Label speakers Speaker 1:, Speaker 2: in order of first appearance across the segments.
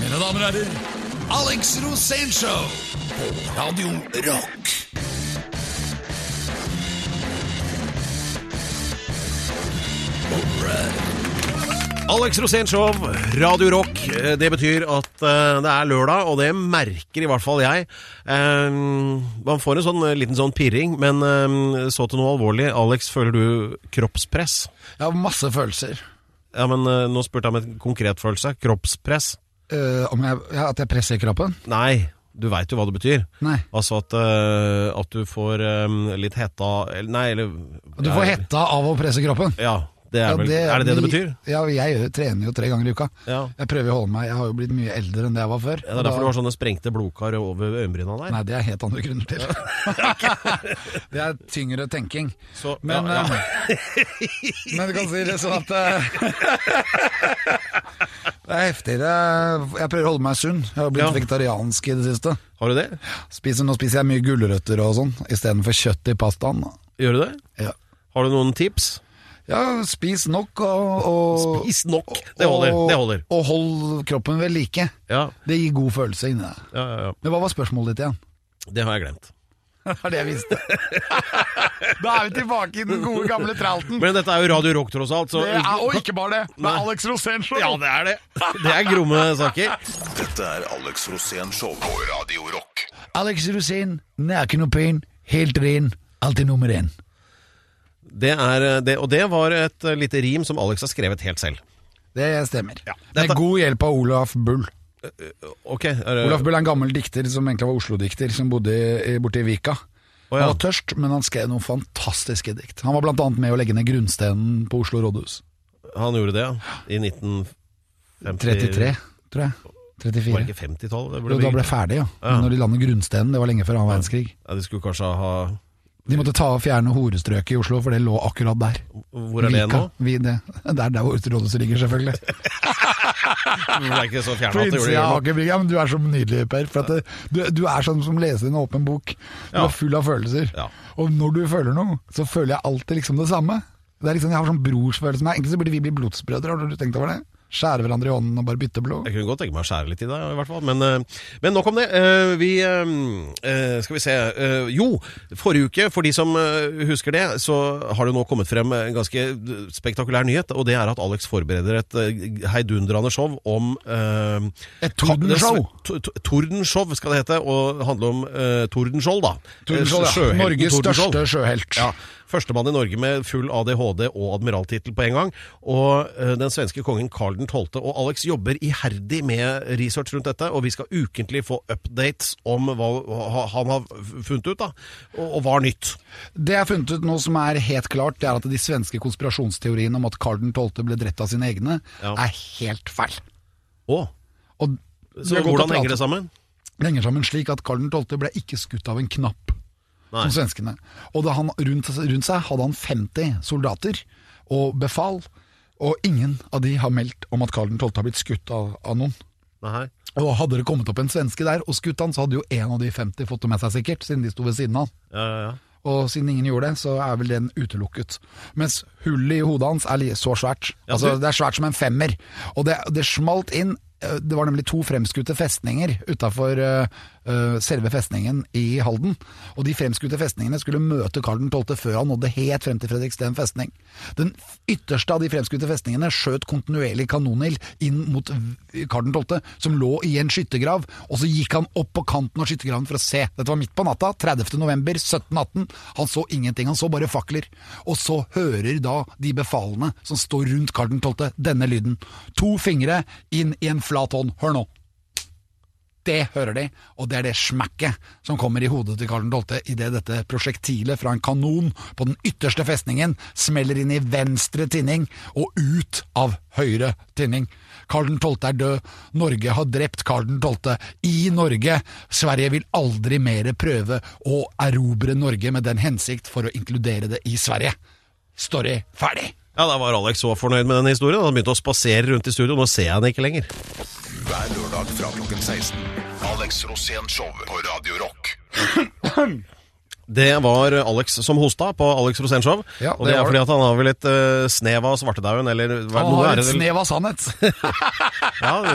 Speaker 1: Mine damer og herrer, Alex Rosénshow på Radio Rock.
Speaker 2: Alex Rosénshow, Radio Rock. Eh, Det betyr at eh, det er lørdag, og det merker i hvert fall jeg. Eh, man får en sånn eh, liten sånn pirring, men eh, så til noe alvorlig. Alex, føler du kroppspress?
Speaker 3: Jeg har masse følelser.
Speaker 2: Ja, men eh, nå spurte jeg om en konkret følelse. Kroppspress?
Speaker 3: Eh, om jeg, ja, at jeg presser kroppen?
Speaker 2: Nei, du veit jo hva det betyr.
Speaker 3: Nei.
Speaker 2: Altså at, eh, at du får eh, litt hetta eller- Nei, eller
Speaker 3: Du får hetta av å presse kroppen.
Speaker 2: Ja, det er,
Speaker 3: Ja,
Speaker 2: vel, er det det det betyr?
Speaker 3: Ja, jeg trener jo tre ganger i uka.
Speaker 2: Ja.
Speaker 3: Jeg prøver å holde meg Jeg har jo blitt mye eldre enn det jeg var før.
Speaker 2: Ja, Det er derfor du har sånne sprengte blodkar over øyenbryna der.
Speaker 3: Nei, det er helt andre grunner til. det er tyngre tenking.
Speaker 2: Så-
Speaker 3: Men,
Speaker 2: ja, ja.
Speaker 3: eh, men du kan si det sånn at eh, Det er heftigere. Jeg prøver å holde meg sunn. Jeg har blitt
Speaker 2: Ja.
Speaker 3: vegetariansk i det siste.
Speaker 2: Har du det?
Speaker 3: Spiser, nå spiser jeg mye gulrøtter og sånn, istedenfor kjøtt i pastaen.
Speaker 2: Gjør du det?
Speaker 3: Ja.
Speaker 2: Har du noen tips?
Speaker 3: ja, spis nok og, og
Speaker 2: Spis nok. Det holder.
Speaker 3: Og,
Speaker 2: Det holder.
Speaker 3: og hold kroppen ved like.
Speaker 2: Ja,
Speaker 3: Det gir god følelse inni deg.
Speaker 2: ja, ja, ja.
Speaker 3: Men hva var spørsmålet ditt igjen?
Speaker 2: Det har jeg glemt.
Speaker 3: Det er det jeg visste. da er vi tilbake i den gode, gamle tralten.
Speaker 2: Men dette er jo Radio Rock, tross alt. Så
Speaker 3: Det er, og ikke bare det, det
Speaker 2: Nei.
Speaker 3: er Alex Rosénshow.
Speaker 2: Ja, det er det. Det er gromme saker.
Speaker 1: Dette er Alex Rosén Show på Radio Rock.
Speaker 3: Alex Rosén, nakenopin, helt ren, alltid nummer én.
Speaker 2: det, er, eh, det og det var et eh, lite rim som Alex har skrevet helt selv.
Speaker 3: Det stemmer.
Speaker 2: Dette-
Speaker 3: Med god hjelp av Olaf Bull.
Speaker 2: Ok, er det,
Speaker 3: Olaf Bull er en gammel dikter som egentlig var Oslo-dikter, som bodde i- borte i Vika.
Speaker 2: Å, ja.
Speaker 3: Han var tørst, men han skrev noen fantastiske dikt. Han var blant annet med å legge ned grunnstenen på Oslo rådhus.
Speaker 2: han gjorde det, ja. I 1953.
Speaker 3: 33, tror jeg.
Speaker 2: Var
Speaker 3: 34.
Speaker 2: det ikke 50-tallet? det ble
Speaker 3: Jo, da
Speaker 2: bygd?
Speaker 3: ble det ferdig, ja. Men når de landet grunnstenen, det var lenge før annen verdenskrig.
Speaker 2: Ja, de skulle kanskje ha
Speaker 3: De måtte ta og fjerne horestrøket i Oslo, for det lå akkurat der.
Speaker 2: Hvor er det nå?
Speaker 3: Vi, det. Der, der hvor rådhuset ligger, selvfølgelig.
Speaker 2: Det er ikke så fjernet
Speaker 3: På
Speaker 2: at det gjorde det.
Speaker 3: innsida
Speaker 2: gjør
Speaker 3: av
Speaker 2: noe.
Speaker 3: Aker Brygge. Ja, men du er så nydelig, Per. For at det, du, du er sånn som leser en åpen bok. Du
Speaker 2: Ja.
Speaker 3: er full av følelser.
Speaker 2: Ja.
Speaker 3: Og når du føler noe, så føler jeg alltid liksom det samme. Det er liksom, Jeg har sånn brorsfølelse med Egentlig så burde vi bli blodsbrødre, har du tenkt over det? Skjære hverandre i hånden og bare bytte blod.
Speaker 2: Jeg kunne godt tenke meg å skjære litt i deg, i hvert fall. Men, eh, men nok om det. Eh, Vi eh, eh, Skal vi se. Eh, Jo, forrige uke, for de som eh, husker det, så har det nå kommet frem en ganske spektakulær nyhet. Og det er at Alex forbereder et eh, heidundrende show om eh,
Speaker 3: Et tordenshow.
Speaker 2: Ka- to- to- Tordenshow skal det hete. Og handle om eh, Tordenskjold, da.
Speaker 3: Tordenskjold,
Speaker 2: Eh, sjøhelten
Speaker 3: ja. Norges
Speaker 2: Tordenskjold.
Speaker 3: største sjøhelt.
Speaker 2: Ja, Førstemann i Norge med full ADHD og admiraltittel på en gang. Og eh, den svenske kongen Karl 12. Og Alex jobber iherdig med research rundt dette, og vi skal ukentlig få updates om hva ha- han har funnet ut, da. Og, og hva er nytt.
Speaker 3: Det jeg har funnet ut nå som er helt klart, det er at de svenske konspirasjonsteoriene om at Karl 12. ble drept av sine egne,
Speaker 2: Ja.
Speaker 3: er helt feil.
Speaker 2: Å,
Speaker 3: Og
Speaker 2: så hvordan henger det sammen?
Speaker 3: Det henger sammen slik at Karl 12. ble ikke skutt av en knapp,
Speaker 2: Nei.
Speaker 3: som svenskene. Og da han, rundt, rundt seg hadde han 50 soldater og befal, og ingen av de har meldt om at Karl 12. har blitt skutt av, av noen.
Speaker 2: Nei.
Speaker 3: Og hadde det kommet opp en svenske der og skutt han, så hadde jo en av de 50 fått det med seg sikkert, siden de sto ved siden av han.
Speaker 2: Ja, ja, ja.
Speaker 3: Og siden ingen gjorde det, så er vel den utelukket. Mens hullet i hodet hans er li- så svært.
Speaker 2: Ja,
Speaker 3: altså,
Speaker 2: du-
Speaker 3: det er svært som en femmer. Og det, det smalt inn. Eh, Det var nemlig to fremskutte festninger utafor eh, selve festningen i Halden. Og de fremskutte festningene skulle møte Karl 12. før han nådde helt frem til Fredriksten festning. Den f- ytterste av de fremskutte festningene skjøt kontinuerlig kanonild inn mot v- Karl 12., som lå i en skyttergrav. Og så gikk han opp på kanten av skyttergraven for å se. Dette var midt på natta, 30. november 1718. Han så ingenting, han så bare fakler. Og så hører da de befalene som står rundt Karl 12., denne lyden. To fingre inn i en flat hånd. Hør nå. Det hører de, og det er det smekket som kommer i hodet til Karl 12. idet dette prosjektilet fra en kanon på den ytterste festningen smeller inn i venstre tinning og ut av høyre tinning. Karl 12. er død, Norge har drept Karl 12. i Norge. Sverige vil aldri mer prøve å erobre Norge med den hensikt for å inkludere det i Sverige. Story ferdig.
Speaker 2: Ja, Da var Alex så fornøyd med den historien. Han begynte å spasere rundt i studio. Nå ser jeg han ikke lenger.
Speaker 1: Hver lørdag fra klokken 16. Alex Rosén Show på Radio Rock.
Speaker 2: Det var Alex som hosta på Alex Rosénshow.
Speaker 3: Ja,
Speaker 2: og
Speaker 3: det
Speaker 2: det er
Speaker 3: var
Speaker 2: fordi at han har vel et eh, snev av svartedauden, eller hva-
Speaker 3: Han
Speaker 2: noe er
Speaker 3: har et
Speaker 2: det vel-
Speaker 3: snev av sannhet.
Speaker 2: Ja,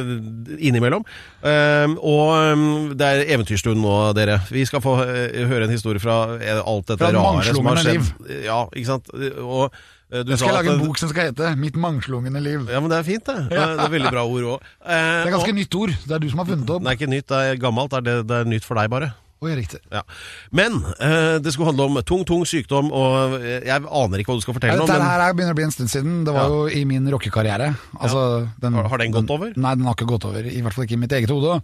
Speaker 2: innimellom. Ehm, og ehm, det er eventyrstund nå, dere. Vi skal få eh, høre en historie fra eh, alt dette
Speaker 3: Fra
Speaker 2: rare som har
Speaker 3: mangslungne
Speaker 2: skjedd. Ja, ikke sant? Og eh, du
Speaker 3: Jeg skal
Speaker 2: sa at
Speaker 3: lage en bok som skal hete 'Mitt mangslungne liv'.
Speaker 2: Ja, men det er fint, det. Det er- det er Veldig bra ord òg.
Speaker 3: Det er ganske nytt ord. Det er du som har funnet det opp.
Speaker 2: Det er ikke nytt, det er gammelt. Det er, det, det er nytt for deg, bare.
Speaker 3: Oi, riktig.
Speaker 2: Ja. Men eh, det skulle handle om tung, tung sykdom, og eh, jeg aner ikke hva du skal fortelle om.
Speaker 3: Dette
Speaker 2: Men,
Speaker 3: Eh, her er- begynner å bli en stund siden. Det var jo i min rockekarriere. Altså, den-
Speaker 2: Har- har den gått over?
Speaker 3: Nei, den har ikke gått over. I hvert fall ikke i mitt eget hode.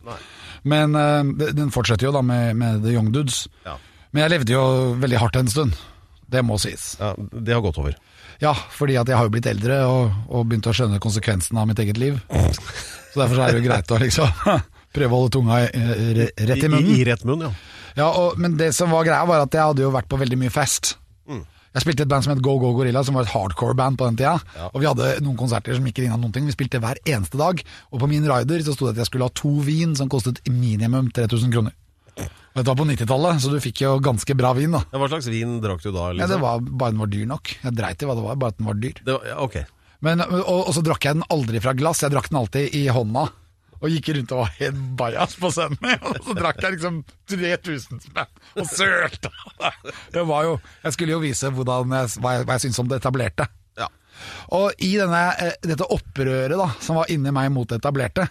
Speaker 3: Men eh, de- den fortsetter jo da med, med The Young Dudes.
Speaker 2: Ja.
Speaker 3: Men jeg levde jo veldig hardt en stund. Det må sies.
Speaker 2: ja, det har gått over.
Speaker 3: Ja, fordi at jeg har jo blitt eldre og, og begynt å skjønne konsekvensen av mitt eget liv. Så derfor så er det jo greit å liksom prøve å holde tunga i- i- rett i munnen.
Speaker 2: I, i rett munn, ja.
Speaker 3: Ja, og, men det som var greia var at jeg hadde jo vært på veldig mye fest. Jeg spilte i et band som het Go Go Gorilla, som var et hardcore-band på den tida. Og vi hadde noen konserter som ikke ligna noen ting. Vi spilte hver eneste dag. Og på min rider så sto det at jeg skulle ha to vin som kostet minimum 3000 kroner. Og dette var på 90-tallet, så du fikk jo ganske bra vin, da.
Speaker 2: Ja, Hva slags vin drakk du da?
Speaker 3: Ja,
Speaker 2: Liksom?
Speaker 3: det var bare den var dyr nok. Jeg dreit i hva det var, bare at den var dyr.
Speaker 2: Det var- ja, ok.
Speaker 3: Men, og, og så drakk jeg den aldri fra glass, jeg drakk den alltid i hånda. Og gikk rundt og var helt bajas på scenen. Og så drakk jeg liksom 3000 spenn og sølte. Jeg, var jo, jeg skulle jo vise hvordan jeg, hva, jeg, hva jeg syntes om det etablerte.
Speaker 2: Ja.
Speaker 3: Og i denne, eh, dette opprøret da, som var inni meg mot det etablerte,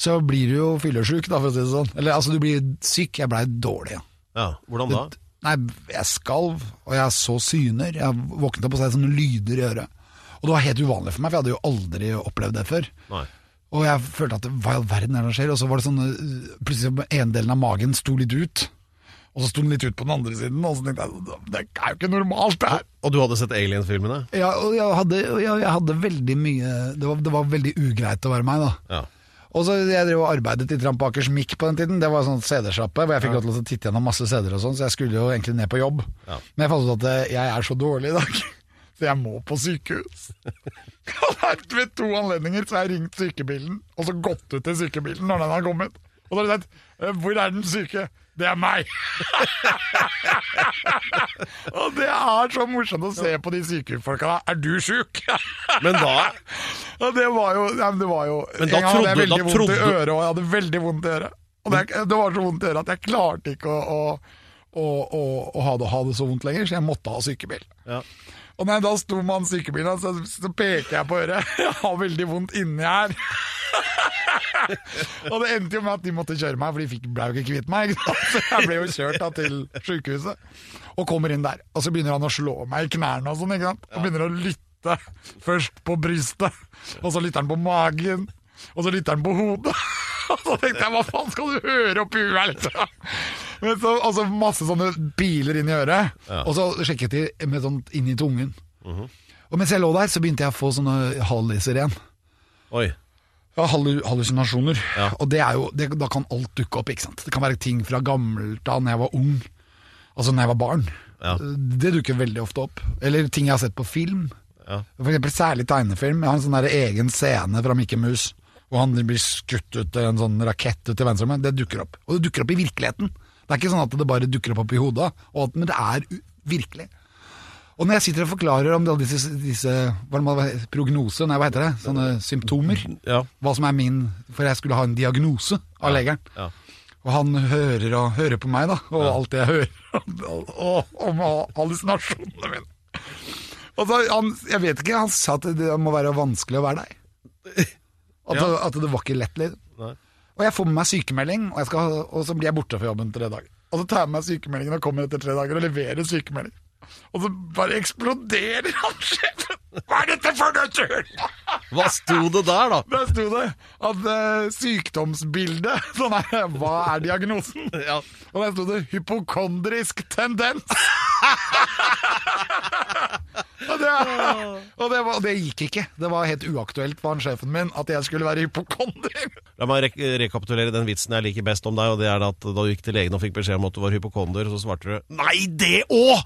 Speaker 3: så blir du jo fyllesyk, da, for å si det sånn. Eller altså, du blir syk. Jeg blei dårlig. Ja.
Speaker 2: ja. Hvordan da?
Speaker 3: Nei, jeg skalv, og jeg så syner. Jeg våknet opp og så hadde jeg sånne lyder i øret. Og det var helt uvanlig for meg, for jeg hadde jo aldri opplevd det før.
Speaker 2: Nei.
Speaker 3: Og jeg følte at hva i all verden er det som skjer? Og så var det sånn øh, Plutselig så ene delen av magen sto litt ut. Og så sto den litt ut på den andre siden, og så tenkte jeg det er jo ikke normalt, det her.
Speaker 2: Og du hadde sett Alien-filmene?
Speaker 3: Ja, og jeg hadde, og jeg, jeg hadde veldig mye det var, det var veldig ugreit å være meg, da.
Speaker 2: Ja.
Speaker 3: Og så Jeg drev og arbeidet i Trampakers Mikk på den tiden. Det var en sånn CD-sjappe hvor jeg fikk lov til å titte gjennom masse CD-er og sånn, så jeg skulle jo egentlig ned på jobb.
Speaker 2: Ja.
Speaker 3: Men jeg fant ut at eh, jeg er så dårlig i dag, så jeg må på sykehus. Jeg har vært ved to anledninger, så jeg har ringt sykebilen, og så gått ut til sykebilen når den har kommet. Og da har de sagt «Eh, 'Hvor er den syke?' Det er meg! og det er så morsomt å se på de sykefolka. da. Er du sjuk?
Speaker 2: Men da
Speaker 3: Ja, det var jo, nei, men det var jo
Speaker 2: Men
Speaker 3: En
Speaker 2: da
Speaker 3: gang hadde
Speaker 2: trodde- da
Speaker 3: jeg veldig vondt i
Speaker 2: trodde-
Speaker 3: øret, og jeg hadde veldig vondt i øret. Og det, det var så vondt i øret at jeg klarte ikke å, å, å, å, å ha, det, ha det så vondt lenger, så jeg måtte ha sykebil.
Speaker 2: ja.
Speaker 3: Og når jeg da sto med han sykebilen, så, så peker jeg på øret. Jeg har veldig vondt inni her. og det endte jo med at de måtte kjøre meg, for de fikk- ble jo ikke kvitt meg. Ikke sant? Så jeg ble jo kjørt da til sykehuset. Og kommer inn der, og så begynner han å slå meg i knærne og sånn, ikke sant. Og begynner å lytte. Først på brystet, og så lytter han på magen, og så lytter han på hodet. Og så tenkte jeg, hva faen skal du høre oppi huet her, liksom? Men så, og så masse sånne biler inn i øret, og så sjekket de med sånt inn i tungen. Og mens jeg lå der, så begynte jeg å få sånne halliser igjen.
Speaker 2: Oi.
Speaker 3: Ja, hallu- hallusinasjoner.
Speaker 2: Ja.
Speaker 3: Og det er jo, det, da kan alt dukke opp, ikke sant? Det kan være ting fra gammelt da når jeg var ung, altså når jeg var barn.
Speaker 2: Ja.
Speaker 3: Det dukker veldig ofte opp. Eller ting jeg har sett på film.
Speaker 2: Ja.
Speaker 3: For eksempel særlig tegnefilm. Jeg har en sånn der egen scene fra Mikke Mus, hvor han blir skutt ut av en sånn rakett ut i verdensrommet. Det dukker opp. Og det dukker opp i virkeligheten. Det er ikke sånn at det bare dukker opp oppi hodet, og at, men det er u- virkelig. Og når jeg sitter og forklarer om alle disse, disse hva det må- prognose, nei, hva heter det, sånne symptomer,
Speaker 2: Ja.
Speaker 3: hva som er min, for jeg skulle ha en diagnose av legeren,
Speaker 2: Ja.
Speaker 3: og han hører og hører på meg, da, og alt det jeg hører og- og- om hallusinasjonene mine. Og så, han, jeg vet ikke, han sa at det må være vanskelig å være deg. At,
Speaker 2: Ja.
Speaker 3: at det var ikke lett, liksom.
Speaker 2: Nei.
Speaker 3: Og jeg får med meg sykemelding, og, jeg skal, og så blir jeg borte fra jobben tre dager. Og så tar jeg med meg sykemeldingen og kommer etter tre dager og leverer sykemelding. Og så bare eksploderer han sjefen! Hva er dette for noe tull?!
Speaker 2: Hva sto det der, da?
Speaker 3: Der sto det at eh, sykdomsbildet sånn her, Hva er diagnosen?
Speaker 2: Ja.
Speaker 3: Og der sto det 'hypokondrisk tendens'. og, det, og det, var, det gikk ikke. Det var helt uaktuelt for han sjefen min at jeg skulle være hypokondriker.
Speaker 2: La meg rek rekapitulere den vitsen jeg liker best om deg, og det er at da du gikk til legen og fikk beskjed om at du var hypokonder, så svarte du Nei, det òg!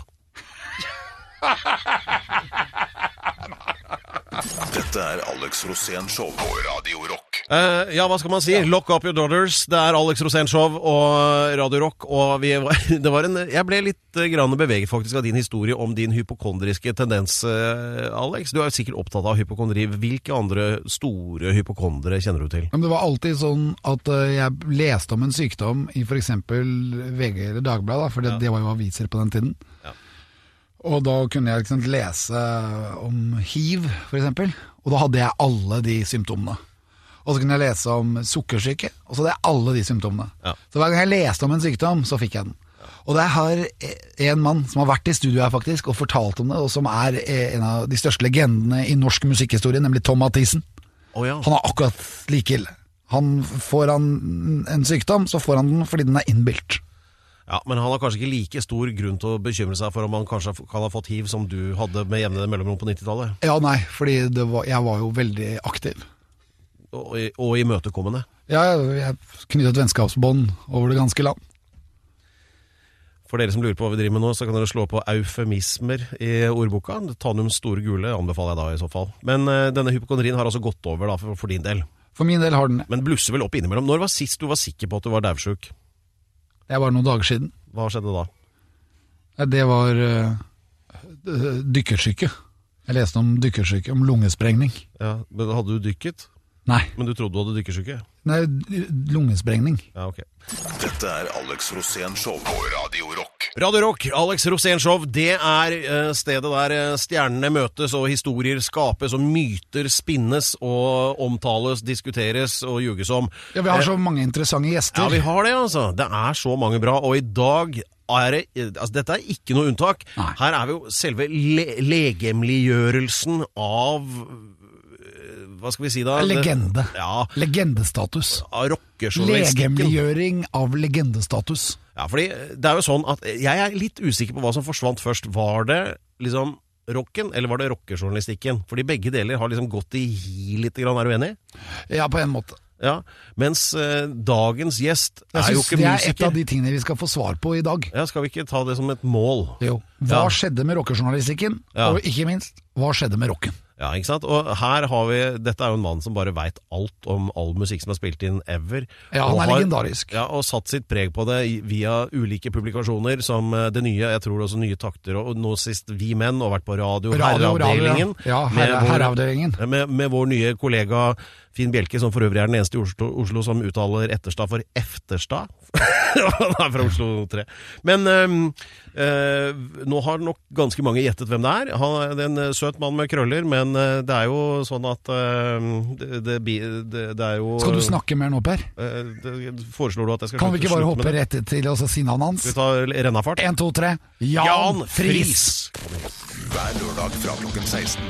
Speaker 4: Dette er Alex Rosén Show på Radio Rock.
Speaker 2: Eh, ja, hva skal man si? Lock up your daughters. Det er Alex Rosén-show og Radio Rock. Og vi var, det var en, jeg ble litt eh, grann beveget faktisk av din historie om din hypokondriske tendens, eh, Alex. Du er jo sikkert opptatt av hypokondri. Hvilke andre store hypokondere kjenner du til?
Speaker 3: Men det var alltid sånn at eh, jeg leste om en sykdom i f.eks. VG eller Dagbladet, da, for det, det var jo aviser på den tiden.
Speaker 2: Ja.
Speaker 3: Og da kunne jeg liksom lese om hiv, f.eks., og da hadde jeg alle de symptomene. Og så kunne jeg lese om sukkersyke, og så hadde jeg alle de symptomene.
Speaker 2: Ja.
Speaker 3: Så hver gang jeg leste om en sykdom, så fikk jeg den. Og der har eh, en mann som har vært i studio her faktisk og fortalt om det, og som er eh, en av de største legendene i norsk musikkhistorie, nemlig Tom Mathisen.
Speaker 2: Å ja.
Speaker 3: Han er akkurat like ille. Han får han en sykdom, så får han den fordi den er innbilt.
Speaker 2: ja. Men han har kanskje ikke like stor grunn til å bekymre seg for om han kanskje kan ha fått hiv som du hadde med jevne mellomrom på 90-tallet?
Speaker 3: Ja, nei, fordi det var, jeg var jo veldig aktiv.
Speaker 2: Og, og imøtekommende.
Speaker 3: Jeg, jeg knyttet vennskapsbånd over det ganske land.
Speaker 2: For dere som lurer på hva vi driver med nå, så kan dere slå på eufemismer i ordboka. Tanum store gule anbefaler jeg da i så fall. Men eh, denne hypokondrien har altså gått over da, for, for din del.
Speaker 3: For min del har den det.
Speaker 2: Men blusser vel opp innimellom. Når var sist du var sikker på at du var daudsjuk?
Speaker 3: Det var noen dager siden.
Speaker 2: Hva skjedde da?
Speaker 3: Nei, Det var eh, d- dykkersyke. Jeg leste om dykkersyke, om lungesprengning.
Speaker 2: Ja, men Hadde du dykket?
Speaker 3: Nei,
Speaker 2: Men du trodde du hadde dykkersyke?
Speaker 3: nei d- lungesprengning.
Speaker 2: Ja, ok.
Speaker 4: Dette er Alex Rosén Show på Radio Rock.
Speaker 2: Radio Rock, Alex Rosénshow, det er eh, stedet der eh, stjernene møtes og historier skapes og myter spinnes og omtales, diskuteres og ljuges om.
Speaker 3: Ja, Vi har så mange interessante gjester.
Speaker 2: Ja, vi har det, altså. Det er så mange bra. Og i dag er det Altså, dette er ikke noe unntak.
Speaker 3: Nei.
Speaker 2: Her er vi jo selve le legemliggjørelsen av øh, Hva skal vi si da?
Speaker 3: Legende.
Speaker 2: Ja.
Speaker 3: Legendestatus.
Speaker 2: Av rockejournalistikken.
Speaker 3: Legemliggjøring av legendestatus.
Speaker 2: Ja, fordi det er jo sånn at jeg er litt usikker på hva som forsvant først. Var det liksom rocken, eller var det rockejournalistikken? Fordi begge deler har liksom gått i hi lite grann, er du enig?
Speaker 3: Ja, på en måte.
Speaker 2: Ja. Mens øh, dagens gjest
Speaker 3: Jeg
Speaker 2: er jo
Speaker 3: synes
Speaker 2: ikke
Speaker 3: det er et
Speaker 2: musiker.
Speaker 3: av de tingene vi skal få svar på i dag.
Speaker 2: Ja, skal vi ikke ta det som et mål?
Speaker 3: Jo. Hva
Speaker 2: Ja.
Speaker 3: skjedde med rockejournalistikken?
Speaker 2: Ja.
Speaker 3: Og ikke minst, hva skjedde med rocken?
Speaker 2: Ja, ikke sant? Og her har vi, dette er jo en mann som bare veit alt om all musikk som er spilt inn ever.
Speaker 3: Ja, han
Speaker 2: Og
Speaker 3: er
Speaker 2: har-
Speaker 3: legendarisk.
Speaker 2: Ja, og satt sitt preg på det i- via ulike publikasjoner som eh, Det Nye, jeg tror det er også Nye Takter, og og nå sist Vi Menn, og vært på radio,
Speaker 3: Radio,
Speaker 2: Herreavdelingen.
Speaker 3: radio, ja. Ja,
Speaker 2: med
Speaker 3: herre-
Speaker 2: vår-
Speaker 3: herreavdelingen.
Speaker 2: ja, Eh, Med, med vår nye kollega Finn Bjelke, som for øvrig er den eneste i Oslo, Oslo som uttaler Etterstad for Efterstad. han er fra Oslo 3. Men ehm, eh, nå har nok ganske mange gjettet hvem det er. Han er det er en eh, søt mann med krøller, men eh, det er jo sånn at ehm, det, det, bi- det, det er jo
Speaker 3: Skal du snakke mer nå, Per?
Speaker 2: Eh, det, foreslår du at jeg skal
Speaker 3: Kan vi
Speaker 2: slutte-
Speaker 3: ikke bare
Speaker 2: slutte med
Speaker 3: hoppe
Speaker 2: det?
Speaker 3: rett til og så si navnet hans?
Speaker 2: Skal vi ta rennafart?
Speaker 3: Én, to, tre. Jan Friis!
Speaker 4: Hver lørdag fra klokken 16.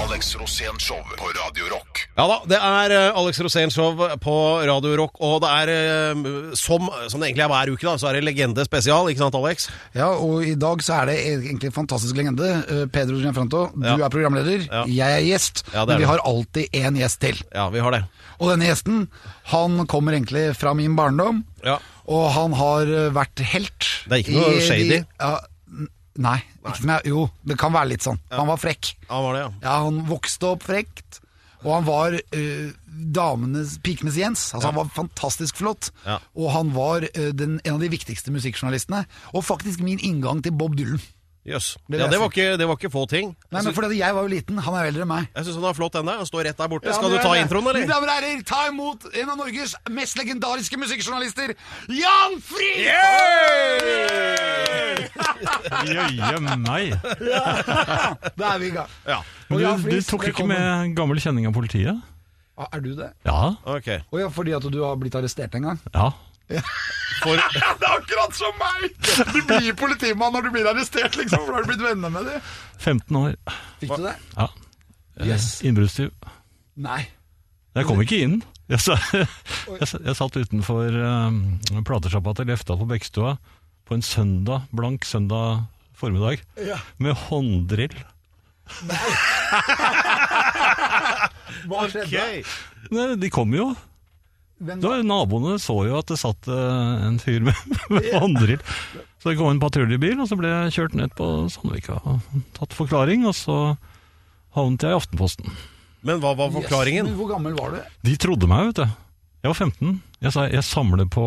Speaker 4: Alex Rosén Show på Radio Rock.
Speaker 2: Ja da, det er eh, Alex Rosén show på Radio Rock, og det er eh, som, som det egentlig er hver uke, da, så er det Legende spesial, ikke sant Alex?
Speaker 3: Ja, og i dag så er det egentlig en fantastisk legende. Eh, Pedro Gianfranto, du
Speaker 2: Ja.
Speaker 3: er programleder,
Speaker 2: Ja.
Speaker 3: jeg er gjest.
Speaker 2: Ja, det er
Speaker 3: men
Speaker 2: det.
Speaker 3: vi har alltid én gjest til.
Speaker 2: Ja, vi har det.
Speaker 3: Og denne gjesten, han kommer egentlig fra min barndom.
Speaker 2: Ja.
Speaker 3: Og han har eh, vært helt
Speaker 2: Det er ikke noe
Speaker 3: i de-
Speaker 2: shady?
Speaker 3: ja, n- nei, ikke som jeg, jo, det kan være litt sånn Han var frekk
Speaker 2: Han var det, ja.
Speaker 3: Ja, han vokste opp frekt Og han var eh, damenes, pikenes Jens Altså han var fantastisk flott
Speaker 2: Ja.
Speaker 3: Og han var eh, den, en av de viktigste musikkjournalistene Og faktisk min inngang til Bob Dylan
Speaker 2: Jøss.
Speaker 3: Det vil
Speaker 2: Ja,
Speaker 3: jeg
Speaker 2: det
Speaker 3: si.
Speaker 2: var, ikke, det var ikke få ting.
Speaker 3: Nei, men fordi jeg var jo liten, han er eldre enn meg
Speaker 2: Jeg syns han er flott, den der. Han står rett der borte.
Speaker 3: Ja,
Speaker 2: Skal
Speaker 3: han
Speaker 2: du
Speaker 3: er
Speaker 2: ta
Speaker 3: det.
Speaker 2: introen,
Speaker 3: Mine
Speaker 2: eller?
Speaker 3: damer og herrer, ta imot en av Norges mest legendariske musikkjournalister Jan Friis!
Speaker 5: Jøye meg!
Speaker 3: Da er vi i gang
Speaker 2: Ja.
Speaker 5: Men
Speaker 3: Og Jan
Speaker 5: du, du
Speaker 3: Friis,
Speaker 5: tok ikke
Speaker 3: velkommen.
Speaker 5: med gammel kjenning av politiet?
Speaker 3: Ah, Er du det?
Speaker 5: Ja.
Speaker 2: Ok.
Speaker 3: Å ja, fordi at du har blitt arrestert en gang?
Speaker 5: ja.
Speaker 2: For,
Speaker 3: Det er akkurat som meg! Du blir politimann når du blir arrestert, liksom. For da har du blitt venner med dem.
Speaker 5: 15 år.
Speaker 3: Fikk du det?
Speaker 5: Ja.
Speaker 3: Yes.
Speaker 5: Innbruddstyv.
Speaker 3: Nei.
Speaker 5: Jeg kom ikke inn. Jeg, sa, jeg, sa- jeg satt utenfor um, platesjappa til Lefta på Bekkstua på en søndag, blank søndag formiddag
Speaker 3: Ja.
Speaker 5: med hånddrill.
Speaker 3: Hva skjedde?
Speaker 2: ok.
Speaker 5: Nei, De kom jo.
Speaker 3: Hvem-
Speaker 5: Det var, naboene så jo at det satt eh, en fyr med, med hånddrill. Så det kom en patruljebil, og så ble jeg kjørt ned på Sandvika og tatt forklaring. Og så havnet jeg i Aftenposten.
Speaker 2: Men hva var forklaringen?
Speaker 3: Yes, men hvor gammel var du?
Speaker 5: De trodde meg, vet du. Jeg var 15. Jeg sa jeg samler på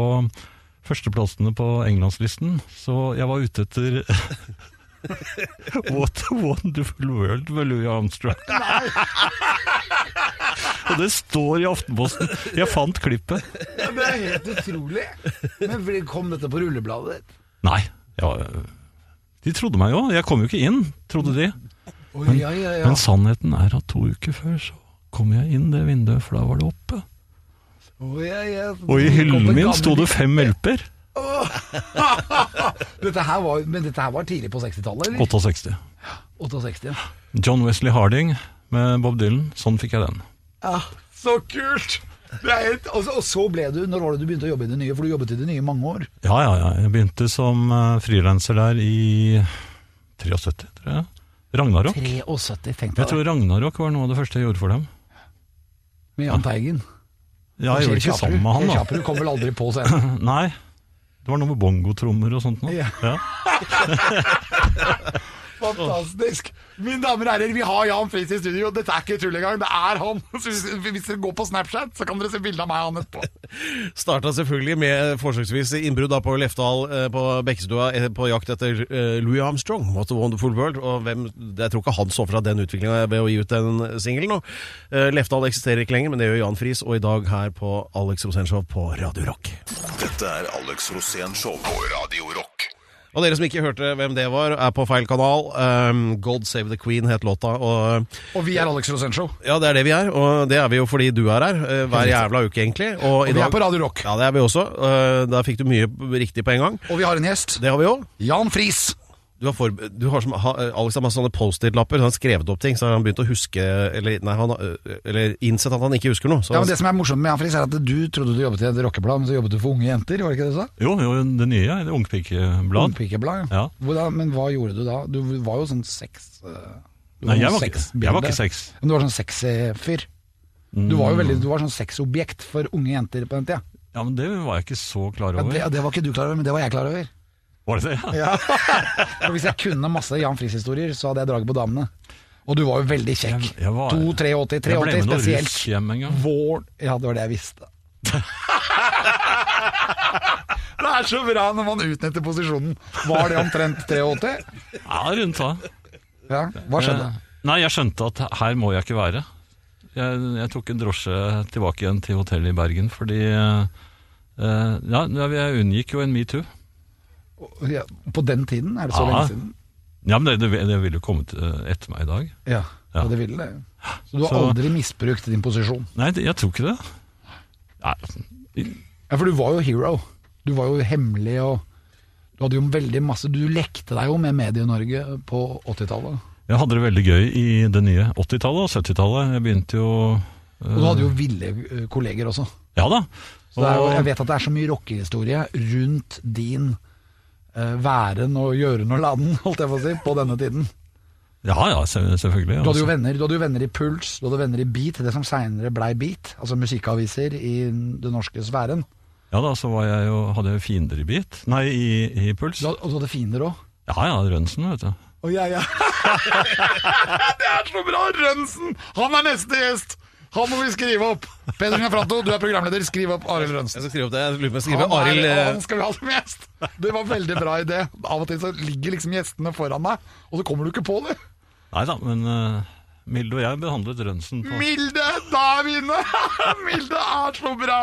Speaker 5: førsteplassene på Englandslisten, så jeg var ute etter What a wonderful world med Louis Armstrong. Og det står i Aftenposten. Jeg fant klippet.
Speaker 3: Ja, Det er helt utrolig. Men fordi kom dette på rullebladet ditt?
Speaker 5: Nei, jeg var De trodde meg jo. Jeg kom jo ikke inn, trodde de.
Speaker 3: Oi, ja, ja, ja.
Speaker 5: Men sannheten er at to uker før så kom jeg inn det vinduet, for da var det oppe.
Speaker 3: Oi, ja, ja.
Speaker 5: Og i
Speaker 3: Det kom
Speaker 5: hyllen
Speaker 3: en
Speaker 5: min
Speaker 3: gammel-
Speaker 5: sto det fem melper.
Speaker 3: dette her var, Men dette her var tidlig på 60-tallet, eller?
Speaker 5: 68.
Speaker 3: 68, ja.
Speaker 5: John Wesley Harding med Bob Dylan. Sånn fikk jeg den.
Speaker 3: ja. Ah, Så kult! Det er helt, og, så, og så ble du Når var det du begynte å jobbe i det nye? For du jobbet i det nye i mange år.
Speaker 5: Ja, ja, ja. Jeg begynte som uh, frilanser der i 73, tror jeg. Ragnarok.
Speaker 3: 73, tenk deg
Speaker 5: Jeg
Speaker 3: det.
Speaker 5: tror Ragnarok var noe av det første jeg gjorde for dem.
Speaker 3: Med Jahn Teigen.
Speaker 5: Ja, jeg gjorde det ikke sammen med han, da.
Speaker 3: Kjaperud kom vel aldri på scenen.
Speaker 5: Nei. Det var noe med bongotrommer og sånt. Nå.
Speaker 3: Ja.
Speaker 5: Ja.
Speaker 3: Fantastisk! Mine damer og herrer, vi har Jan Friis i studio. Dette er ikke tull engang, det er han. Så hvis, hvis dere går på Snapchat, så kan dere se bilde av meg og han etterpå.
Speaker 2: Starta selvfølgelig med forsøksvis innbrudd da på Lefdal eh, på Bekkestua eh, på jakt etter eh, Louis Armstrong, What a Wonderful World. Og hvem, jeg tror ikke han så for seg den utviklinga ved å gi ut den singelen. nå. Eh, Lefdal eksisterer ikke lenger, men det gjør Jan Friis, og i dag her på Alex Rosenshov på Radio Rock.
Speaker 4: Dette er Alex Rosén Show på Radio Rock.
Speaker 2: Og dere som ikke hørte hvem det var, er på feil kanal. Um, God Save The Queen het låta. og... eh,
Speaker 3: Og vi er Alex Rosenshov.
Speaker 2: Ja, det er det vi er, og det er vi jo fordi du er her eh, hver jævla uke, egentlig. Og, i
Speaker 3: vi
Speaker 2: dag-
Speaker 3: er på Radio Rock.
Speaker 2: Ja, det er vi også. Eh, Der fikk du mye riktig på en gang.
Speaker 3: Og vi har en gjest.
Speaker 2: Det har vi òg.
Speaker 3: Jan Friis.
Speaker 2: Du har, forbe- du har som, ha, Alex har masse sånne Post-It-lapper. så Han har skrevet opp ting, så har han begynt å huske Eller, nei, han, har, eh, eller innsett at han ikke husker noe. Så
Speaker 3: Ja, men Det som er morsomt med Jan Friis, er at du trodde du jobbet i et rockeblad, men så jobbet du for unge jenter, var det ikke det du sa?
Speaker 5: Jo, jo, det nye. Det Ungpikeblad.
Speaker 3: Ungpikeblad, ja.
Speaker 5: Ja.
Speaker 3: Hvordan, men hva gjorde du da? Du var jo sånn sex... eh, du
Speaker 5: Nei, jeg
Speaker 3: sånn
Speaker 5: var ikke-
Speaker 3: sexbilde.
Speaker 5: jeg var ikke sex.
Speaker 3: Men du var sånn sexy-fyr. Du var jo veldig, du var sånn sexobjekt for unge jenter på den tida.
Speaker 5: Ja, men Det var jeg ikke så klar
Speaker 3: Ja,
Speaker 5: over.
Speaker 3: det, ja, det var ikke du klar over, men det var jeg klar over.
Speaker 5: Var det det? Ja.
Speaker 3: For Hvis jeg kunne masse Jan Friis-historier, så hadde jeg draget på damene. Og du var jo veldig kjekk.
Speaker 5: Jeg- jeg var-
Speaker 3: 2-83, 83
Speaker 5: Jeg ble med noe
Speaker 3: spesielt.
Speaker 5: russ hjem en gang.
Speaker 3: Vår Ja, det var det jeg visste. det er så bra når man utnytter posisjonen. Var det omtrent 83?
Speaker 5: Ja, rundt da.
Speaker 3: Ja, Hva skjedde?
Speaker 5: Eh, Nei, jeg skjønte at her må jeg ikke være. Jeg, jeg tok en drosje tilbake igjen til hotellet i Bergen, fordi eh, eh, Ja, jeg unngikk jo en metoo.
Speaker 3: Ja, på den tiden? Er det så
Speaker 5: Ja.
Speaker 3: lenge siden?
Speaker 5: Ja, men det, det, det ville jo kommet eh, etter meg i dag.
Speaker 3: Ja,
Speaker 5: Ja.
Speaker 3: ja. det ville det. Så du har
Speaker 5: Så-
Speaker 3: aldri misbrukt din posisjon?
Speaker 5: Nei, det- jeg tror ikke det. Nei, altså,
Speaker 3: Ja, for du var jo hero. Du var jo hemmelig og Du hadde jo veldig masse Du lekte deg jo med Medie-Norge på 80-tallet.
Speaker 5: jeg hadde det veldig gøy i det nye 80-tallet og 70-tallet. Jeg begynte jo
Speaker 3: Og du hadde jo ville eh, kolleger også.
Speaker 5: Ja da.
Speaker 3: Så det er jo,
Speaker 5: Og-
Speaker 3: jeg vet at det er så mye rockehistorie rundt din eh, væren og gjøren og laden, holdt jeg på å si, på denne tiden.
Speaker 5: Ja ja, se- selvfølgelig.
Speaker 3: Du hadde jo
Speaker 5: altså.
Speaker 3: venner, du hadde jo venner i Puls, du hadde venner i Beat, det som seinere blei Beat, altså musikkaviser i den norske sfæren.
Speaker 5: Ja da, så var jeg jo, hadde jeg jo fiender i bit. Nei, i, i puls.
Speaker 3: Du hadde, og du hadde fiender òg.
Speaker 5: Ja ja, Rønsen, vet du.
Speaker 3: Å, ja, ja. det er så bra! Rønsen! Han er neste gjest! Han må vi skrive opp! Peder Gianfranto, du er programleder. Skriv opp Arild Rønsen.
Speaker 2: jeg skal skrive opp det. Jeg lurer på om jeg
Speaker 3: Han,
Speaker 2: skriver Arild
Speaker 3: er,
Speaker 2: eh,
Speaker 3: han skal vi ha som gjest! Det var veldig bra idé. Av og til så ligger liksom gjestene foran deg, og så kommer du ikke på det.
Speaker 5: Nei da, men eh, Milde og jeg behandlet Rønsen på
Speaker 3: Milde, da er vi inne! Milde er så bra!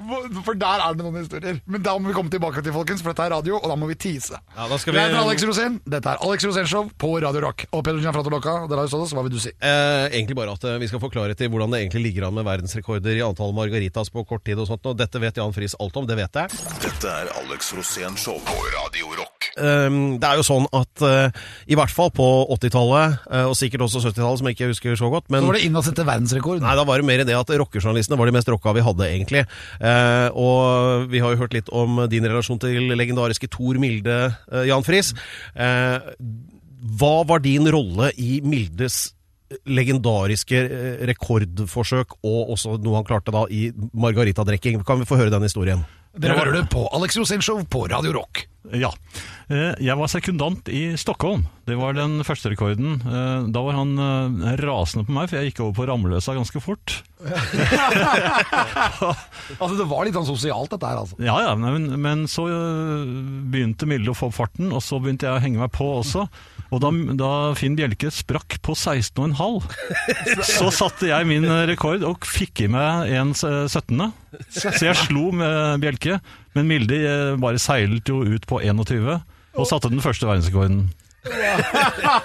Speaker 3: Hvor- For der er det noen historier. Men da må vi komme tilbake til, folkens, for dette er radio, og da må vi tease.
Speaker 2: Ja, da skal
Speaker 3: Jeg heter
Speaker 2: vi
Speaker 3: Alex Rosén. Dette er Alex Rosén Show på Radio Rock. Og Peder Gianfranto Locca, dere har jo stått oss, hva vil du si?
Speaker 2: Eh, egentlig bare at eh, vi skal få klarhet i hvordan det egentlig ligger an med verdensrekorder i antall margaritas på kort tid og sånt. Og dette vet Jan Friis alt om, det vet jeg.
Speaker 4: Dette er Alex Rosén Show på Radio Rock.
Speaker 2: Ehm, det er jo sånn at eh, i hvert fall på 80-tallet, eh, og sikkert også 70-tallet, som jeg ikke husker så godt men
Speaker 3: Så var det inn og sette verdensrekord.
Speaker 2: Nei, da var det mer det at rockejournalistene var de mest rocka vi hadde, egentlig. Eh, og vi har jo hørt litt om din relasjon til legendariske Tor Milde, eh, Jan Friis. Eh, hva var din rolle i Mildes eh, legendariske eh, rekordforsøk, og også noe han klarte da i margaritadrikking? Kan vi få høre den historien?
Speaker 3: Dere hører det på Alex Rosén Show på Radio Rock.
Speaker 5: Ja. Eh, Jeg var sekundant i Stockholm. Det var den første rekorden. Eh, Da var han eh, rasende på meg, for jeg gikk over på Ramløsa ganske fort.
Speaker 3: Altså, det var litt sånn sosialt, dette her, altså.
Speaker 5: Ja, ja, men, men så øh, begynte Milde å få opp farten, og så begynte jeg å henge meg på også. Og da, da Finn Bjelke sprakk på 16,5, så satte jeg min rekord og fikk i meg en eh, 17. Så jeg slo med Bjelke, men Milde eh, bare seilte jo ut på 21 og satte den første verdensrekorden.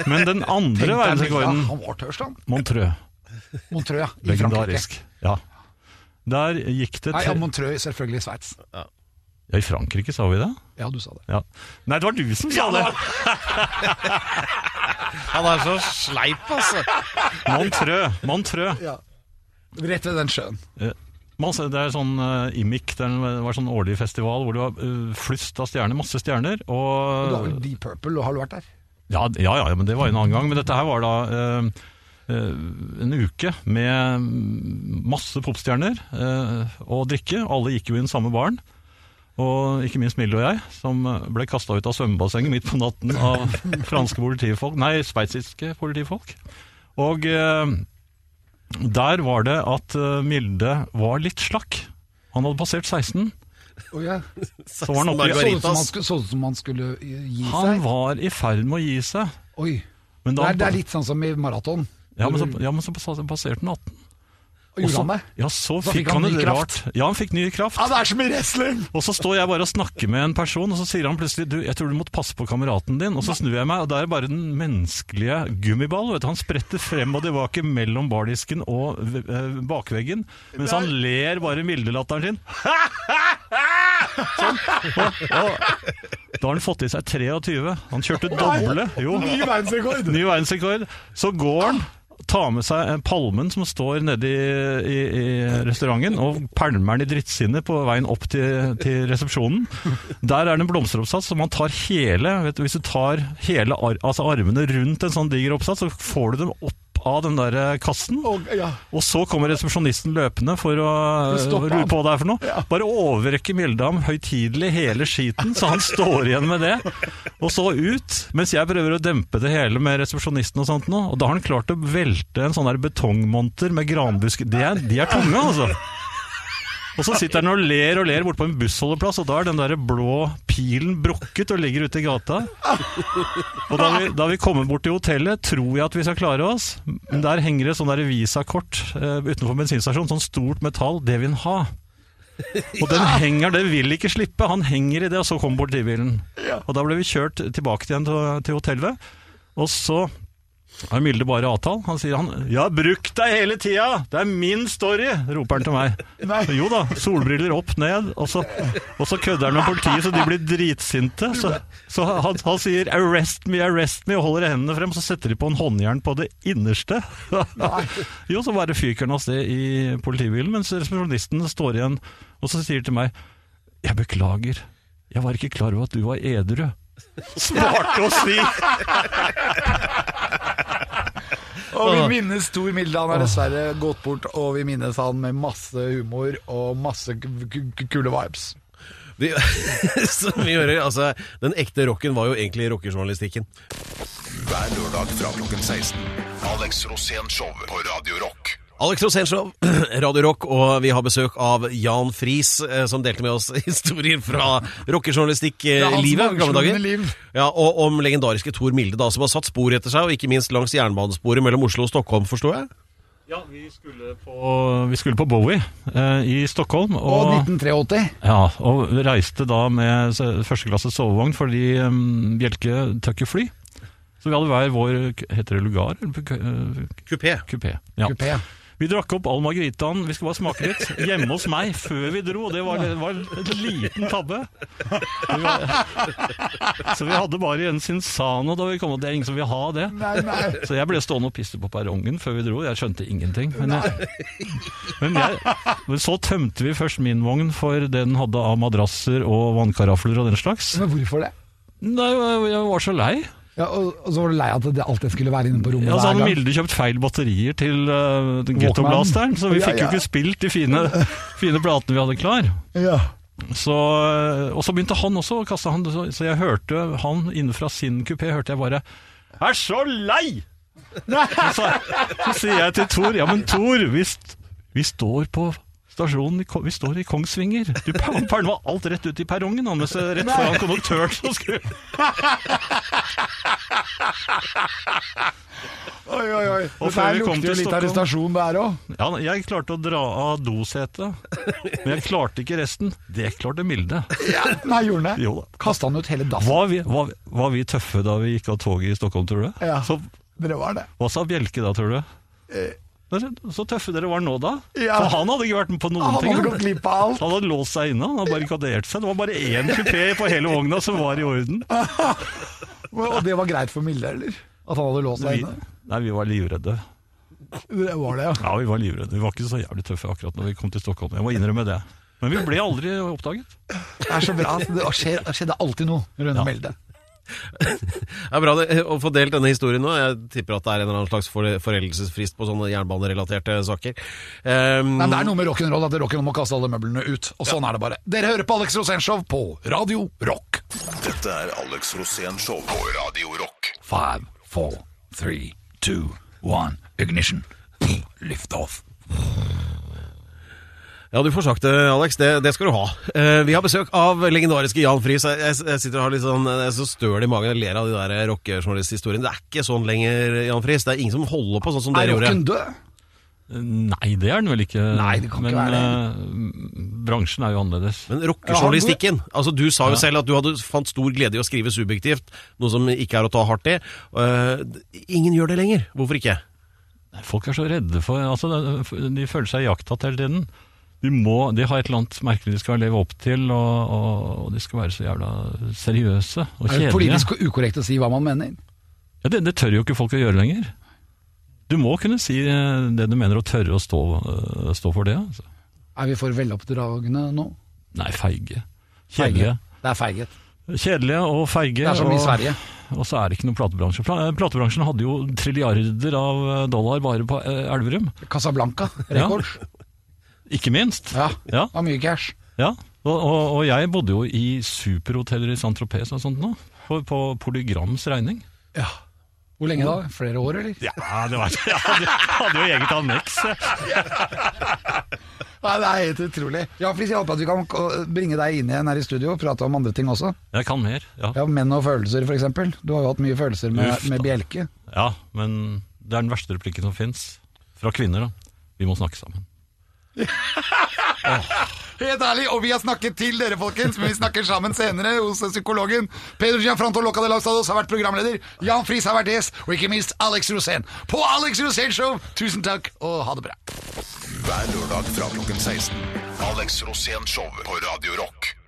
Speaker 5: Men den andre verdensrekorden,
Speaker 3: Ja, han var tørst, han.
Speaker 5: Montreux,
Speaker 3: Montreux, ja. I Frankrike.
Speaker 5: legendarisk. Ja. Der gikk det
Speaker 3: Nei, ja,
Speaker 5: til
Speaker 3: Montreux selvfølgelig i Sveits.
Speaker 5: Ja, i Frankrike sa vi det?
Speaker 3: Ja, du sa det.
Speaker 5: Ja. Nei, det var du som sa det!
Speaker 2: Han er så sleip, altså.
Speaker 5: Montreux. Montreux.
Speaker 3: Rett ved den sjøen.
Speaker 5: Eh, man ser- Det er sånn uh, IMIC, det er en- det var sånn årlig festival hvor det var eh, flust av stjerner, masse stjerner.
Speaker 3: Du har vel
Speaker 5: Og,
Speaker 3: Deep Purple, og har du vært der?
Speaker 5: ja, ja, ja, men det var en annen gang. Men dette her var da eh, eh, en uke med masse popstjerner eh, og drikke. Alle gikk jo i den samme baren. Og ikke minst Milde og jeg, som ble kasta ut av svømmebassenget midt på natten av franske politifolk, nei, sveitsiske politifolk. Og eh, der var det at eh, Milde var litt slakk. Han hadde passert 16.
Speaker 3: Oh, ja.
Speaker 5: Så var han oppe
Speaker 3: Så
Speaker 5: i
Speaker 3: ut Sånn som han skulle, så ut som han skulle eh, gi
Speaker 5: Han
Speaker 3: seg.
Speaker 5: var i ferd med å gi seg.
Speaker 3: Oi. Det
Speaker 5: Men da
Speaker 3: er, det er litt sånn som i maraton.
Speaker 5: ja, men så, ja, men så passerte han 18.
Speaker 3: Og
Speaker 5: Og
Speaker 3: Gjorde
Speaker 5: så,
Speaker 3: han det?
Speaker 5: ja, så
Speaker 3: Da
Speaker 5: fikk han, et rart Ja, han fikk ny kraft. Ah.
Speaker 3: Ja, det er som i wrestling!
Speaker 5: Og så står jeg bare og snakker med en person, og så sier han plutselig du, 'jeg tror du måtte passe på kameraten din'. Og så snur jeg meg, og det er bare den menneskelige gummiball. Vet du. Han spretter frem og tilbake mellom bardisken og eh, bakveggen, mens han ler bare mildelatteren sin. sånn. Og, og, da har han fått i seg 23. Han kjørte doble. Jo.
Speaker 3: Ny verdensrekord!
Speaker 5: Ny verdensrekord. Så går han, tar med seg eh, palmen som står nede i, i, i restauranten, og pælmer den i drittsinnet på veien opp til, til resepsjonen. Der er det en blomsteroppsats som han tar hele vet du, Hvis du tar hele ar altså armene rundt en sånn diger oppsats, så får du dem opp av den der eh, kassen.
Speaker 3: Og, ja.
Speaker 5: Og så kommer resepsjonisten løpende for å eh,
Speaker 3: stoppe
Speaker 5: lure
Speaker 3: han.
Speaker 5: på hva det er for noe.
Speaker 3: Ja.
Speaker 5: Bare overrekke Mildam høytidelig hele skiten, så han står igjen med det. Og så ut, mens jeg prøver å dempe det hele med resepsjonisten og sånt nå. Og da har han klart å velte en sånn der betongmonter med granbusk. De er, de er tunge, altså. Og så sitter han og ler og ler borte på en bussholdeplass, og da er den der blå pilen brukket og ligger ute i gata. Og da vi, da vi kommer bort til hotellet, tror jeg at vi skal klare oss. Men der henger det sånn der visakort eh, utenfor bensinstasjonen, sånn stort metall, det vil han ha. Og den henger, det vil ikke slippe. Han henger i det, og så kommer politibilen. Og da ble vi kjørt tilbake igjen til, til hotellet. Og så er Milde bare avtale. Han sier han 'Jeg har brukt deg hele tida! Det er min story!' roper han til meg. Jo da, solbriller opp, ned, og så, og så kødder han med politiet, så de blir dritsinte. Så, så han, han sier 'arrest me, arrest me', og holder hendene frem, så setter de på en håndjern på det innerste. jo, så bare fyker han av sted i politibilen, mens resepsjonisten står igjen og så sier de til meg 'Jeg beklager, jeg var ikke klar over at du var edru'. Smarte å si!
Speaker 3: Og vi minnes Tor Milde. Han er dessverre gått bort, og vi minnes han med masse humor og masse k- k- k- kule vibes.
Speaker 2: Vi, som vi hører, altså, den ekte rocken var jo egentlig rockejournalistikken.
Speaker 4: Hver lørdag fra klokken 16. Alex Rosén Show på Radio Rock.
Speaker 2: Alex Rosenshov, Radio Rock, og vi har besøk av Jan Friis, eh, som delte med oss historier fra
Speaker 3: Ja, hans
Speaker 2: rockejournalistikk-livet. gamle dager.
Speaker 3: mangslungne liv.
Speaker 2: Ja, og om legendariske Tor Milde, da, som har satt spor etter seg, og ikke minst langs jernbanesporet mellom Oslo og Stockholm, forstår jeg?
Speaker 5: Ja, vi skulle på, vi skulle på Bowie eh, i Stockholm.
Speaker 3: Og
Speaker 5: Og,
Speaker 3: 1983.
Speaker 5: ja, og reiste da med s- førsteklasse sovevogn fordi um, Bjelke tør ikke fly. Så vi hadde hver vår Heter det lugar? eller ku- eh,
Speaker 2: Kupé.
Speaker 5: Kupé. Ja.
Speaker 3: Kupé.
Speaker 5: Vi drakk opp all margaritaen, vi skulle bare smake litt, hjemme hos meg før vi dro. Det var, det var en liten tabbe. Vi var, så vi hadde bare en Sinsano da vi kom, og det er ingen som vil ha det.
Speaker 3: Nei, nei.
Speaker 5: Så jeg ble stående og pisse på perrongen før vi dro. Jeg skjønte ingenting. Men, jeg, men, jeg, men så tømte vi først min vogn for det den hadde av madrasser og vannkarafler og den slags.
Speaker 3: Men hvorfor det?
Speaker 5: Nei, jeg- jeg var så lei.
Speaker 3: Ja, og, og så var du lei av at det alltid skulle være inne på rommet
Speaker 5: Ja, så hadde
Speaker 3: hver gang.
Speaker 5: Milde kjøpt feil batterier til uh, Ghetto Blasteren, så vi
Speaker 3: Ja,
Speaker 5: fikk jo
Speaker 3: ja.
Speaker 5: ikke spilt de fine, fine platene vi hadde klar.
Speaker 3: Ja.
Speaker 5: Så, eh, og så begynte han også å kaste han, så, så jeg hørte han innenfra sin kupé, hørte jeg bare Jeg er så lei! Så, så sier jeg til Tor, ja men Tor, vi, st vi står på stasjonen, i Ko- vi står i Kongsvinger. Du pælma alt rett ut i perrongen, han, mens rett foran konduktøren så skulle
Speaker 3: Oi, oi, oi.
Speaker 5: Og
Speaker 3: Det
Speaker 5: før
Speaker 3: der
Speaker 5: vi kom
Speaker 3: lukter jo
Speaker 5: til
Speaker 3: litt
Speaker 5: Stockholm-
Speaker 3: arrestasjon der òg.
Speaker 5: Ja, jeg klarte å dra av dosetet, men jeg klarte ikke resten. Det klarte Milde.
Speaker 3: Nei, gjorde han det?
Speaker 5: Jo da.
Speaker 3: Kasta han ut hele dassen?
Speaker 5: Var vi, var, var vi tøffe da vi gikk av toget i Stockholm, tror du?
Speaker 3: Ja,
Speaker 5: Så,
Speaker 3: dere var det.
Speaker 5: hva sa Bjelke da, tror du? Dere- Så tøffe dere var nå, da.
Speaker 3: Eh. Ja.
Speaker 5: For han hadde ikke vært med på noen
Speaker 3: Han
Speaker 5: ting.
Speaker 3: hadde gått glipp av alt.
Speaker 5: Han hadde låst seg inne, han hadde barrikadert seg. Det var bare én kupé på hele vogna som var i orden.
Speaker 3: Og det var greit for Milde, eller? At han hadde låst seg
Speaker 5: Vi,
Speaker 3: inne?
Speaker 5: nei, vi var livredde.
Speaker 3: Det var det, ja.
Speaker 5: Ja, vi var livredde. Vi var ikke så jævlig tøffe akkurat når vi kom til Stockholm. Jeg må innrømme det. Men vi ble aldri oppdaget.
Speaker 3: Det er så bra. Altså, Det skjer, det skjedde alltid noe rundt Milde.
Speaker 2: Det er bra det, eh, å få delt denne historien nå. Jeg tipper at det er en eller annen slags for- foreldelsesfrist på sånne jernbanerelaterte saker. Um,
Speaker 3: Men det er noe med rock'n'roll at rock'n'roll må kaste alle møblene ut. Og sånn er det bare. Dere hører på Alex Rosénshow på Radio Rock.
Speaker 4: Dette er Alex Rosén Show på Radio Rock.
Speaker 3: Five, four, three, two, one, ignition. Liftoff.
Speaker 2: Ja, du får sagt det, Alex. Det, det skal du ha. Eh, vi har besøk av legendariske Jan Friis. Jeg, jeg, jeg sitter og har litt sånn, jeg er så støl i magen og ler av de der eh, rockejournalisthistoriene. Det er ikke sånn lenger, Jan Friis. Det er ingen som holder på sånn som
Speaker 3: Er
Speaker 2: dere gjorde.
Speaker 3: rocken død?
Speaker 5: Nei, det er den vel ikke.
Speaker 3: Nei, det kan ikke
Speaker 5: Men
Speaker 3: være
Speaker 5: eh, bransjen er jo annerledes.
Speaker 2: Men rockejournalistikken altså Du sa jo selv at du hadde fant stor glede i å skrive subjektivt, noe som ikke er å ta hardt i. Eh, ingen gjør det lenger. Hvorfor ikke?
Speaker 5: Folk er så redde for altså, det- De føler seg jaktatt hele tiden. De, må, de har et eller annet merkelig de skal leve opp til, og, og, og de skal være så jævla seriøse og
Speaker 3: Er det
Speaker 5: kjedelige.
Speaker 3: politisk ukorrekt å si hva man mener?
Speaker 5: Ja, det, det tør jo ikke folk å gjøre lenger. Du må kunne si eh, det du mener, og tørre å stå, eh, stå for det. Altså.
Speaker 3: Er vi for veloppdragne nå?
Speaker 5: Nei, feige.
Speaker 3: Feige.
Speaker 5: Kjedelige.
Speaker 3: Det er feiget.
Speaker 5: Kjedelige og feige.
Speaker 3: Det er som i
Speaker 5: og-
Speaker 3: Sverige.
Speaker 5: Og så er det ikke noen platebransje. Pla- Platebransjen hadde jo trilliarder av eh, dollar bare på eh, Elverum.
Speaker 3: Casablanca
Speaker 5: Ja.
Speaker 3: Records.
Speaker 5: Ikke minst.
Speaker 3: Ja.
Speaker 5: Ja.
Speaker 3: Det var mye cash.
Speaker 5: Ja, og, og, og jeg bodde jo i superhoteller i Saint-Tropez og sånt nå, på, på Polygrams regning.
Speaker 3: Ja. Hvor lenge da? Flere år, eller?
Speaker 5: Ja, det var, jeg hadde, hadde jo eget anneks.
Speaker 3: Nei, det er helt utrolig. Ja, Fris, jeg håper at vi kan k- bringe deg inn igjen her i studio og prate om andre ting også.
Speaker 5: Jeg kan mer, ja.
Speaker 3: Ja, Menn og følelser, f.eks. Du har jo hatt mye følelser med,
Speaker 5: Uff, da.
Speaker 3: med bjelke.
Speaker 5: Ja, men det er den verste replikken som fins. Fra kvinner, da. Vi må snakke sammen.
Speaker 3: Helt ærlig, og vi har snakket til dere, folkens, men vi snakker sammen senere hos psykologen. Peder Gianfranto Loca de Laustados har vært programleder, Jan Friis har vært gjest, og ikke minst Alex Rosén. På Alex Rosén Show, tusen takk, og ha det bra.
Speaker 4: Hver lørdag fra klokken 16. Alex Rosén Show på Radio Rock.